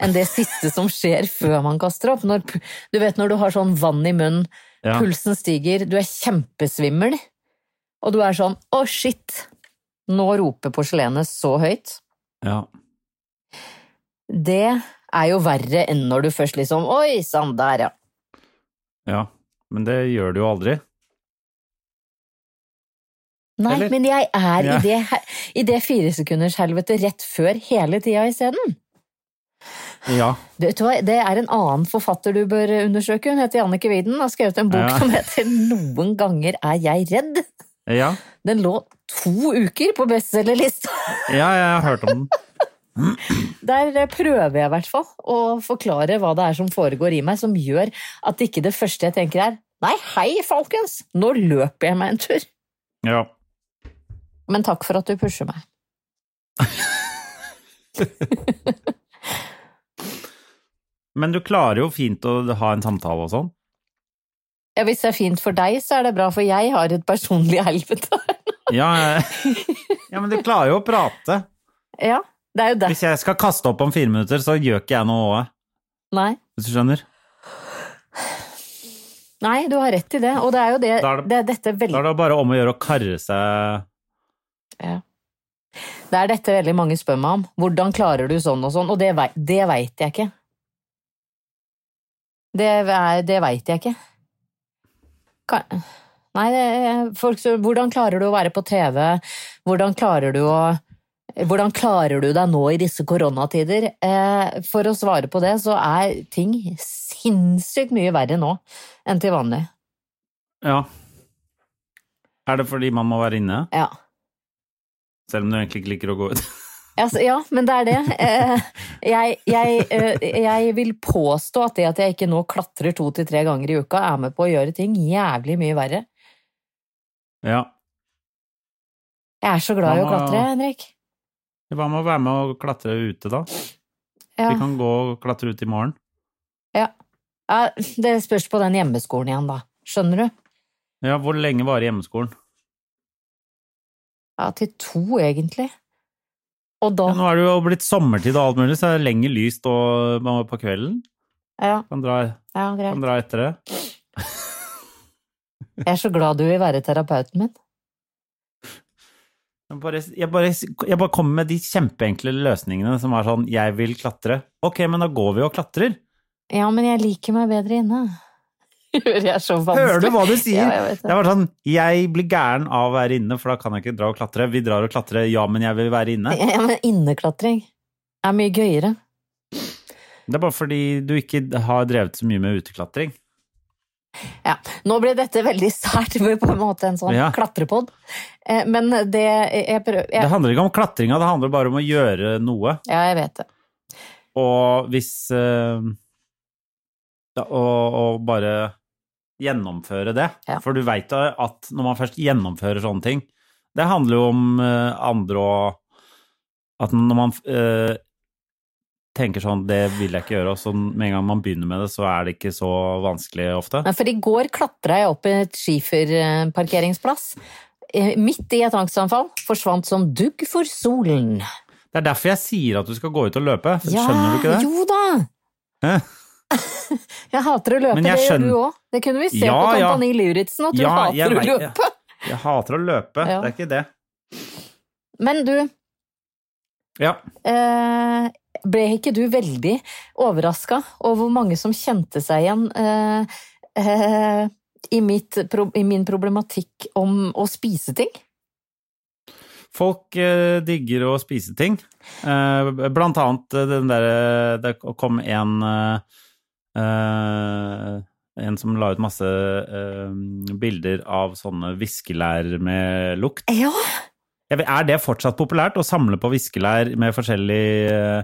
enn det siste som skjer før man kaster opp. Når, pu- du vet når du har sånn vann i munnen,
Ja.
pulsen stiger, du er kjempesvimmel, og du er sånn å shit, nå roper porselenet så høyt.
Ja.
Det er jo verre enn når du først liksom oi sann, der ja.
ja. Men det gjør du jo aldri.
Nei,
Eller?
men jeg er
Ja.
i det, he- i det firesekundershelvetet rett før hele tida isteden.
Ja.
Vet du hva, Det er en annen forfatter du bør undersøke. Hun heter Jannicke Wieden og har skrevet en bok
Ja.
som heter 'Noen ganger er jeg redd'.
Ja.
Den lå to uker på bestselgerlista.
Ja, jeg har hørt om den.
Der prøver jeg i hvert fall å forklare hva det er som foregår i meg, som gjør at ikke det første jeg tenker er 'nei, hei, folkens, nå løper jeg meg en tur'.
Ja.
Men takk for at du pusher meg.
Men du klarer jo fint å ha en samtale og sånn.
Ja, Hvis det er fint for deg, så er det bra, for jeg har et personlig helvete.
Ja, ja, men du klarer jo å prate.
Ja, det er jo det.
Hvis jeg skal kaste opp om fire minutter, så gjør ikke jeg noe òg,
Nei.
hvis du skjønner.
Nei, du har rett i det, og det er jo det,
Da er
det,
det-
er dette veldig
Da er det bare om å gjøre å karre seg
Ja. Det er dette veldig mange spør meg om. Hvordan klarer du sånn og sånn? Og det, vei, det veit jeg ikke. Det, er- det veit jeg ikke. Kan, nei, det, folk spør hvordan klarer du å være på TV? Hvordan klarer du å hvordan klarer du deg nå i disse koronatider? Eh, for å svare på det, så er ting sinnssykt mye verre nå enn til vanlig.
Ja. Er det fordi man må være inne,
Ja.
selv om du egentlig ikke liker å gå ut?
Altså, ja, men det er det. Eh, Jeg, jeg, eh, jeg vil påstå at det at jeg ikke nå klatrer to til tre ganger i uka, er med på å gjøre ting jævlig mye verre.
Ja.
Jeg er så glad i å klatre, Henrik.
Hva med å være med og klatre ute, da?
Ja.
Vi kan gå og klatre ut i morgen.
Ja, det spørs på den hjemmeskolen igjen, da. Skjønner du?
Ja, hvor lenge varer hjemmeskolen?
Ja, til to, egentlig. Og da
Ja, nå er det jo blitt sommertid og alt mulig, så er det lenger lyst og man må på kvelden.
Ja,
Kan dra,
ja
kan
greit.
dra etter det.
Jeg er så glad du vil være terapeuten min.
Jeg bare, jeg, bare, jeg bare kommer med de kjempeenkle løsningene som er sånn 'jeg vil klatre'. Ok, men da går vi og klatrer.
Ja, men jeg liker meg bedre inne. Jeg er så vanskelig.
Hører du hva du sier?
Ja, jeg vet
Det
det.
var sånn 'jeg blir gæren av å være inne, for da kan jeg ikke dra og klatre'. Vi drar og klatrer, ja, men jeg vil være inne.
Ja, men inneklatring er mye gøyere.
Det er bare fordi du ikke har drevet så mye med uteklatring.
Ja. Nå ble dette veldig sært, det ble på en måte en sånn
Ja.
klatrepodd. Eh, Men det jeg prøver
Det
jeg,
handler ikke om klatringa, det handler bare om å gjøre noe.
Ja, jeg vet det.
Og hvis eh, ja, og, og bare gjennomføre det.
Ja.
For du veit at når man først gjennomfører sånne ting Det handler jo om eh, andre og At når man eh, tenker sånn 'det vil jeg ikke gjøre', og så med en gang man begynner med det, så er det ikke så vanskelig ofte.
Nei, for i går klatra jeg opp i et skiferparkeringsplass. Eh, Midt i et angstanfall. Forsvant som dugg for solen.
Det er derfor jeg sier at du skal gå ut og løpe. Skjønner du ikke det?
Jo da!
Hæ?
Jeg hater å løpe,
Men jeg
det gjør du
skjønner-
òg. Det kunne vi se
Ja,
på
ja.
Kompani Lauritzen, at du
Ja, jeg
hater å
vet-
løpe.
Jeg hater å løpe,
Ja.
det er ikke det.
Men du,
Ja.
Eh, ble ikke du veldig overraska over hvor mange som kjente seg igjen eh, eh, i, mitt, pro- i min problematikk om å spise ting?
Folk eh, digger å spise ting. Eh, blant annet eh, den derre Det kom en eh, eh, En som la ut masse eh, bilder av sånne viskelær med lukt.
Ja.
Jeg vet- Er det fortsatt populært å samle på viskelær med forskjellig eh,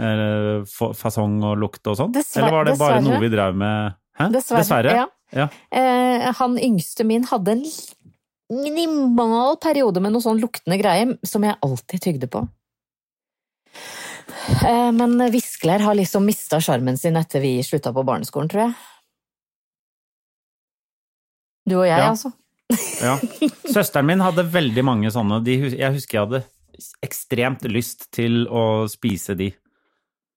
eh, fa- fasong og lukt og sånn?
Dessver-
Eller var det bare
dessverre.
noe vi drev med Hæ?
Dessverre, ja.
Ja.
Eh, han yngste min hadde en l- minimal periode med noe sånn luktende greie som jeg alltid tygde på. Eh, Men Viskelær har liksom mista sjarmen sin etter vi slutta på barneskolen, tror jeg. Du og jeg,
Ja.
altså.
Ja. Søsteren min hadde veldig mange sånne. De, hus- jeg husker jeg hadde ekstremt lyst til å spise de.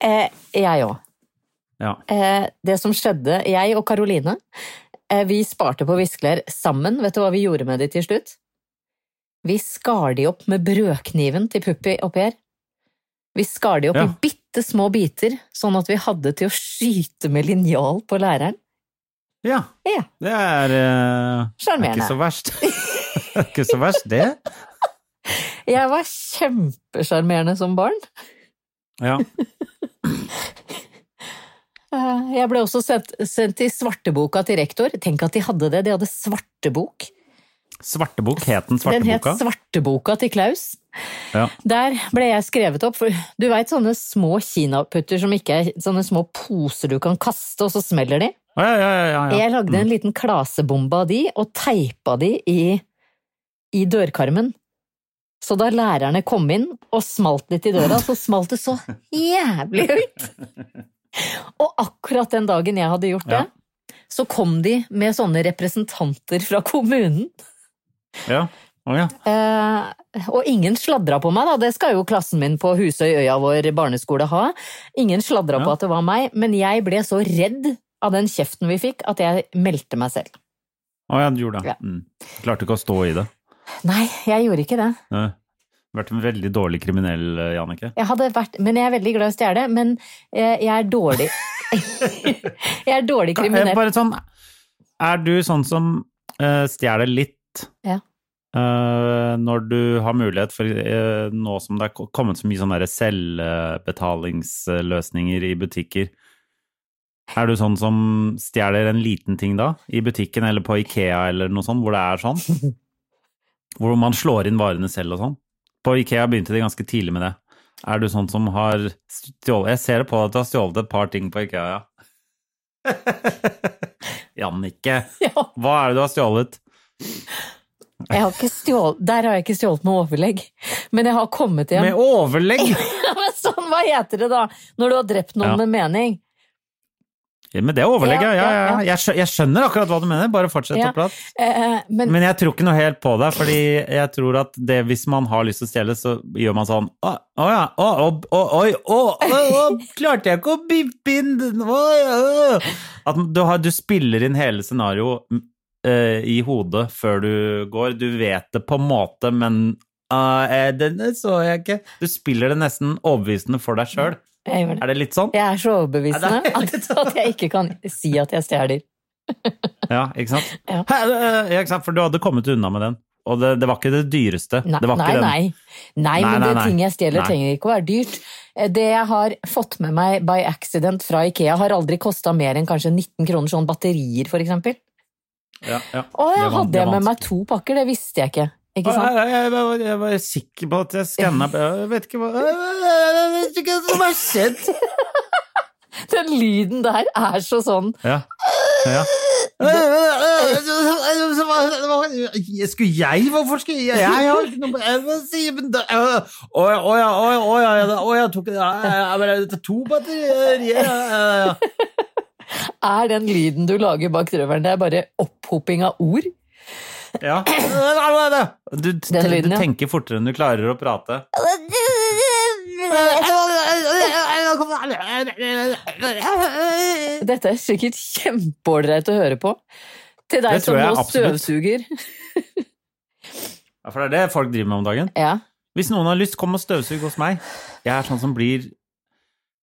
Eh, jeg òg.
Ja.
Eh, det som skjedde, jeg og Karoline, eh, vi sparte på viskelær sammen. Vet du hva vi gjorde med de til slutt? Vi skar de opp med brødkniven til Puppi oppi her. Vi skar de opp
Ja.
i bitte små biter, sånn at vi hadde til å skyte med linjal på læreren.
ja.
Ja,
Det er eh,
Sjarmerende.
Ikke så verst. ikke så verst, det.
jeg var kjempesjarmerende som barn.
Ja.
Eh, Jeg ble også sendt, sendt til svarteboka til rektor. Tenk at de hadde det, de hadde svartebok.
Svartebok het den
Den het
svarteboka.
Svarteboka til Klaus.
Ja.
Der ble jeg skrevet opp, for du veit sånne små kinaputter som ikke er sånne små poser du kan kaste, og så smeller de?
Å, ja, ja, ja, ja, Mm. ja.
Jeg lagde en liten klasebombe av de, og teipa de i, i dørkarmen. Så da lærerne kom inn og smalt litt i døra, så smalt det så jævlig høyt! Og akkurat den dagen jeg hadde gjort det,
Ja.
så kom de med sånne representanter fra kommunen.
Ja. Å, ja.
Eh, og ingen sladra på meg, da. Det skal jo klassen min på Husøy øya vår barneskole ha. Ingen sladra
Ja.
på at det var meg, men jeg ble så redd av den kjeften vi fikk, at jeg meldte meg selv.
Å, ja, du gjorde det.
Ja.
Mm. Klarte ikke å stå i det.
Nei, jeg gjorde ikke det.
Nei. Vært en veldig dårlig kriminell, eh, Jannicke.
Jeg hadde vært, men jeg er veldig glad i å stjele, men eh, jeg er dårlig. jeg er dårlig
Eh,
kriminell.
Bare sånn, er du sånn som eh, stjeler litt
Ja.
eh, når du har mulighet for eh, nå som det er ko- kommet så mye sånne der selvbetalingsløsninger i butikker? Er du sånn som stjeler en liten ting da, i butikken eller på Ikea eller noe sånt, hvor det er sånn? Hvor man slår inn varene selv og sånn? På Ikea begynte de ganske tidlig med det. Er du sånn som har stjålet Jeg ser det på deg at du har stjålet et par ting på Ikea, ja. Jannicke,
Ja,
hva er det du har stjålet?
jeg har ikke stjålet, der har jeg ikke stjålet med overlegg, men jeg har kommet hjem.
Med overlegg!
men sånn, hva heter det da? Når du har drept noen
Ja.
med mening.
Ja, Men det er overlegg, ja. ja, ja,
Ja, ja,
ja. Jeg, skjø- jeg skjønner akkurat hva du mener, bare fortsett
Ja.
å prate.
Eh, men
Men jeg tror ikke noe helt på det, fordi jeg tror at det, hvis man har lyst til å stjele, så gjør man sånn Å å ja, å, å, å, oi, å, å, å, klarte jeg ikke å bippe inn den, å, ja, å». At du, har, du spiller inn hele scenarioet i hodet før du går. Du vet det på en måte, men «Ah, eh, denne så jeg ikke. Du spiller det nesten overbevisende for deg sjøl.
jeg gjør det.
Er det litt sånn?
Jeg er så overbevisende
Ja, det er
at, at jeg ikke kan si at jeg stjeler.
Ja, ikke sant?
Ja.
Hæ, eh, ja, ikke sant? For du hadde kommet unna med den. Og det, det var ikke det dyreste.
Nei,
det var
nei,
ikke den.
nei. nei,
Nei,
men
nei,
det
nei.
ting jeg stjeler
Nei.
trenger ikke å være dyrt. Eh, Det jeg har fått med meg by accident fra Ikea har aldri kosta mer enn kanskje 19 kroner sånn batterier, for eksempel.
Ja, ja.
Å,
Det
jeg
var-
hadde
det
jeg
var vanskelig.
med meg to pakker, det visste jeg ikke. Ikke sant?
Jeg, jeg, var- jeg var sikker på at jeg skanna Jeg vet ikke hva Jeg vet ikke hva som har skjedd!
Den lyden der er så sånn.
Ja. ja. Skulle jeg Hvorfor skulle jeg Jeg har ikke noe jeg må si men da- Å ja, å ja, å ja, å ja, ja, å ja, tok det ja, ja, ja, To batterier ja, ja, ja.
Er den lyden du lager bak drøveren, det er bare opphoping av ord?
Ja. Du,
Den lyden,
du
ja.
tenker fortere enn du klarer å prate.
Dette er sikkert kjempeålreit å høre på. Til deg
Det tror
som
jeg
nå
absolutt.
støvsuger.
Ja, for det er det folk driver med om dagen.
Ja.
Hvis noen har lyst, kom og støvsug hos meg. Jeg er sånn som blir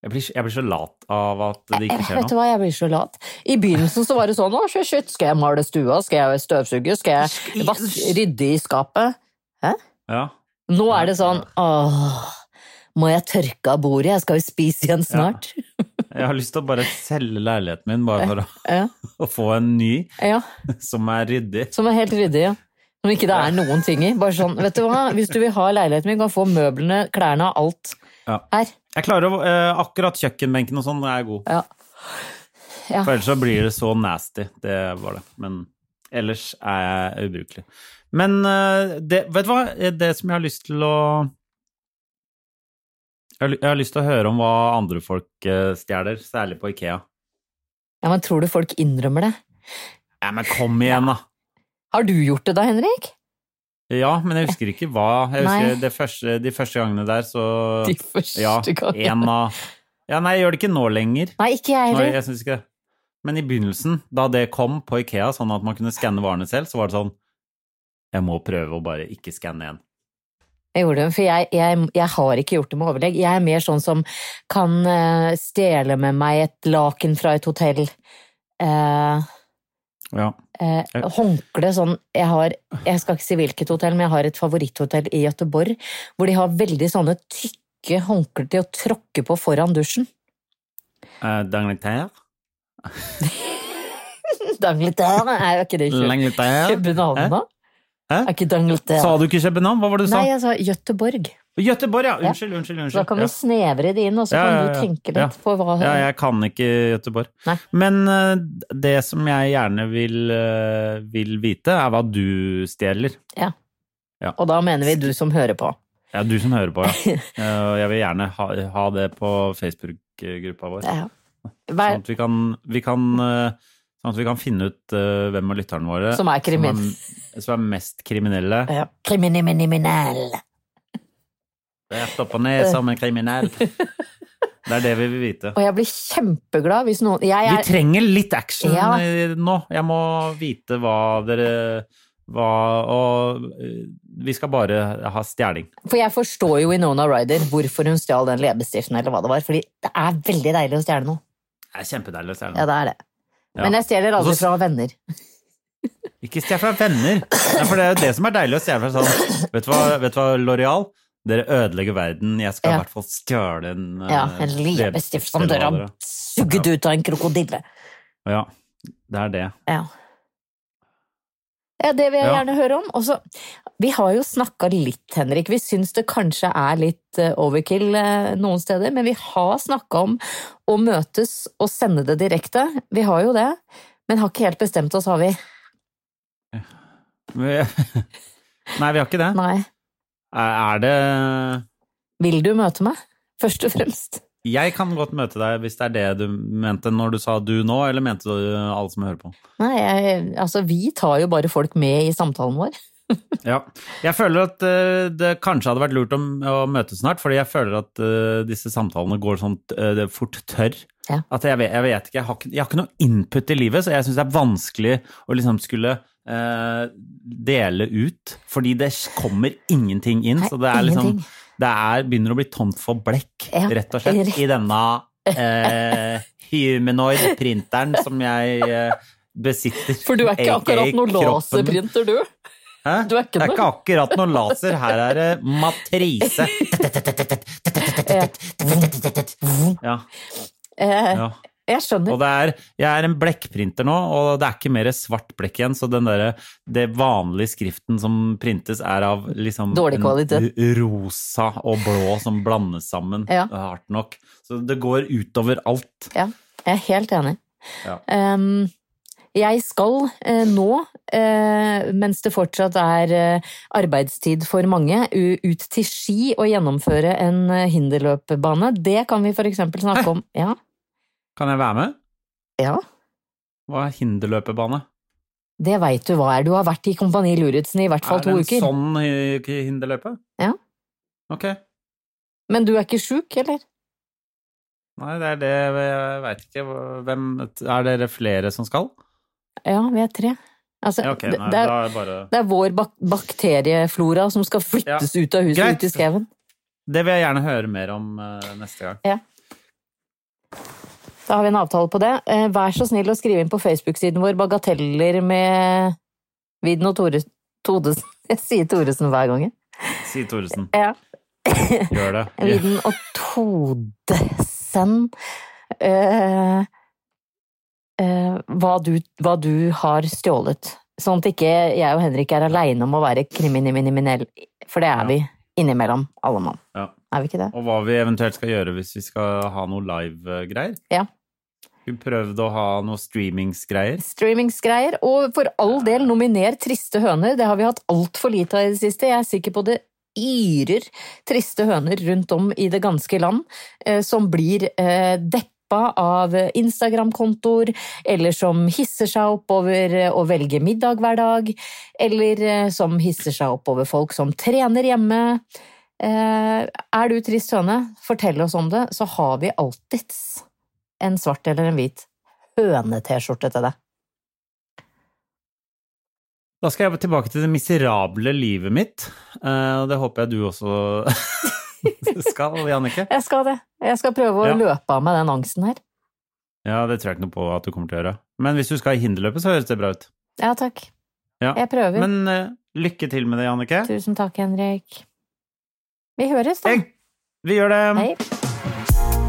Jeg blir, jeg blir så lat av at det ikke skjer
Eh, Vet du
noe.
hva, jeg blir så lat. I begynnelsen så var det sånn, å shit, shit, skal jeg male stua, skal jeg støvsuge, skal jeg vaske, rydde i skapet?
Ja.
Nå er det sånn, åh, må jeg tørke av bordet, jeg skal jo spise igjen snart.
Jeg har lyst til å bare selge leiligheten min bare for å,
Ja,
å få en ny
ja,
som er ryddig.
som er helt ryddig, ja. Som ikke det er noen ting i. Bare sånn, vet du hva, hvis du vil ha leiligheten min, kan du få møblene, klærne, alt
Ja.
her.
Jeg klarer å, eh, Akkurat kjøkkenbenken og sånn er god.
Ja. Ja.
For ellers så blir det så nasty. Det var det. Men ellers er jeg ubrukelig. Men eh, det, vet du hva? Det som jeg har lyst til å Jeg har, ly- jeg har lyst til å høre om hva andre folk eh, stjeler, særlig på Ikea.
Ja, men tror du folk innrømmer det?
Ja, men kom igjen, da!
Har du gjort det da, Henrik?
Ja, men jeg husker ikke hva. Jeg
Nei.
husker det første, De første gangene der, så
De første
Ja, en
gangene.
av Ja, nei, jeg gjør det ikke nå lenger.
Nei, ikke jeg
Nei,
heller.
jeg synes ikke det. Men i begynnelsen, da det kom på Ikea, sånn at man kunne skanne varene selv, så var det sånn Jeg må prøve å bare ikke skanne igjen.
Jeg gjorde det, for jeg, jeg, jeg har ikke gjort det med overlegg. Jeg er mer sånn som kan eh, stjele med meg et laken fra et hotell. Eh,
Ja.
eh, håndkle sånn jeg, har, jeg skal ikke si hvilket hotell, men jeg har et favoritthotell i Gøteborg hvor de har veldig sånne tykke håndklær til å tråkke på foran dusjen.
Eh, Dangleterre?
Dangleterre er jo ikke det i Kø-
Langleterre?
København, da?
Hæ?
Er ikke
Sa
Dangleterre
du ikke København? Hva var det du sånn? sa?
Nei, jeg sa Gøteborg.
Göteborg, ja! Unnskyld, unnskyld. unnskyld.
Da kan vi
ja.
snevre det inn, og så
Ja,
kan
ja,
du
ja.
tenke
Ja.
litt på hva
Ja, jeg kan ikke Göteborg.
Nei.
Men eh, det som jeg gjerne vil, eh, vil vite, er hva du stjeler.
Ja.
Ja.
Og da mener vi du som hører på.
Ja, du som hører på, ja. Eh, Jeg vil gjerne ha, ha det på Facebook-gruppa vår.
Ja.
Sånn
Hver,
at vi kan, vi kan, eh, sånn at vi kan finne ut eh, hvem av lytterne våre
Som er krimin-
som er, som er mest kriminelle.
ja. Kriminell.
Rett opp og ned som en kriminell. Det er det vi vil vite.
Og jeg blir kjempeglad hvis noen jeg
Vi
er,
trenger litt action
Ja.
eh, nå. Jeg må vite hva dere hva, Og eh, vi skal bare ha stjeling.
For jeg forstår jo i Nona Ryder hvorfor hun stjal den leppestiften, eller hva det var. Fordi det er veldig deilig å stjele noe.
Det er kjempedeilig å stjele.
Ja, det er det. Men jeg stjeler
Og
aldri
så-
fra venner.
Ikke stjel fra venner. Nei, for det er jo det som er deilig å stjele fra sånn Vet du hva, vet du hva L'Oreal? Dere ødelegger verden. Jeg skal
Ja.
i hvert fall stjele en eh,
Ja, En leppestift
leppestift
som
eller
dere
hva
har sugd ut av en krokodille.
Ja, det er det.
Ja. ja, det vil jeg
Ja.
gjerne høre om. Og så, vi har jo snakka litt, Henrik. Vi syns det kanskje er litt eh, overkill eh, noen steder, men vi har snakka om å møtes og sende det direkte. Vi har jo det, men har ikke helt bestemt oss, har vi?
Vi- Nei, vi har ikke det.
Nei.
Er er det
Vil du møte meg? Først og fremst.
Jeg kan godt møte deg hvis det er det du mente når du sa du nå, eller mente du alle som hører på?
Nei, jeg, altså vi tar jo bare folk med i samtalen vår.
Ja. Jeg føler at eh, det kanskje hadde vært lurt å, å møtes snart, fordi jeg føler at eh, disse samtalene går sånn eh, det er fort tørr.
Ja.
At jeg, vet, jeg vet ikke, jeg har ikke, jeg har ikke noe input i livet, så jeg syns det er vanskelig å liksom skulle eh, dele ut. Fordi det kommer ingenting inn,
Nei,
så det er liksom
ingenting.
Det er, begynner å bli tomt for blekk,
Ja,
rett og slett,
rett.
i denne eh, humanoid-printeren som jeg eh, besitter. aka kroppen.
du?
Hæ?
Du er ikke
det er
noe-
ikke akkurat noen laser. Her er det matrise. Ja,
Eh,
ja.
jeg skjønner.
Og det er, jeg er en blekkprinter nå, og det er ikke mer svart blekk igjen, så den derre det vanlige skriften som printes, er av liksom
Dårlig
en
kvalitet.
r- rosa og blå som blandes sammen
Ja.
hardt nok. Så det går utover alt.
Ja, jeg er helt enig.
Ja.
Ehm, jeg skal eh, nå, eh, mens det fortsatt er eh, arbeidstid for mange, u- ut til Ski og gjennomføre en eh, hinderløpbane. Det kan vi for eksempel snakke om. Ja,
Kan jeg være med?
ja.
Hva er hinderløpebane?
Det veit du hva er. Du har vært i Kompani Luritzen i hvert fall
Er det
to
en
uker.
sånn hy- hinderløpe?
Ja.
Ok.
Men du er ikke sjuk, eller?
Nei, det er det Jeg veit ikke hvem Er dere flere som skal?
Ja, vi er tre. Altså,
Ja, ok.
det,
Nei, da
det, er,
er det bare
det er vår bak bakterieflora som skal flyttes ut av huset
Greit.
ut i skauen.
Det vil jeg gjerne høre mer om eh, neste gang.
Da har vi en avtale på det. Eh, Vær så snill å skrive inn på Facebook-siden vår bagateller med Vidden og Tore, Todesen. Jeg sier Thoresen hver gang. jeg.
Si Thoresen.
Ja.
Gjør det.
Vidden og Todesen. Eh, eh, hva, du, hva du har stjålet. Sånn at ikke jeg og Henrik er aleine om å være kriminell, for det er vi innimellom, alle mann.
Ja.
Er vi ikke det?
Og hva vi eventuelt skal gjøre hvis vi skal ha noe live-greier.
Ja.
Vi prøvde å ha noe streamingsgreier.
Streamingsgreier, og for all del nominer Triste høner. Det har vi hatt altfor lite av i det siste. Jeg er sikker på det yrer triste høner rundt om i det ganske land, eh, som blir eh, deppa av Instagram-kontoer, eller som hisser seg opp over eh, å velge middag hver dag, eller eh, som hisser seg opp over folk som trener hjemme. Eh, Er du trist høne, fortell oss om det, så har vi alltids en svart eller en hvit høne-T-skjorte til deg.
Da skal jeg tilbake til det miserable livet mitt, eh, og det håper jeg du også skal, Jannicke.
Jeg skal det. Jeg skal prøve å
Ja.
løpe av meg den angsten her.
Ja, det tror jeg ikke noe på at du kommer til å gjøre. Men hvis du skal i hinderløpet, så høres det bra ut.
Ja, takk.
Ja.
Jeg prøver.
Men eh, lykke til med det, Jannicke.
Tusen takk, Henrik. Vi høres, da.
Hei! Vi gjør det.
Hei.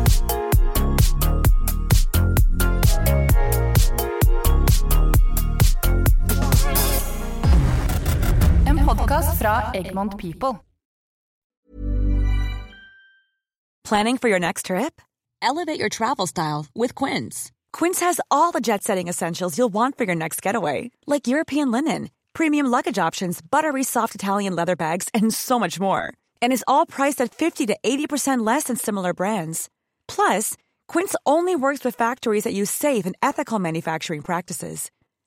En podkast fra Egmont People.
Planning for your next trip? Elevate your travel style with Quince. Quince has all the jet setting essentials you'll want for your next getaway, like European linen, premium luggage options, buttery soft Italian leather bags, and so much more. And is all priced at 50 to 80% less than similar brands. Plus, Quince only works with factories that use safe and ethical manufacturing practices.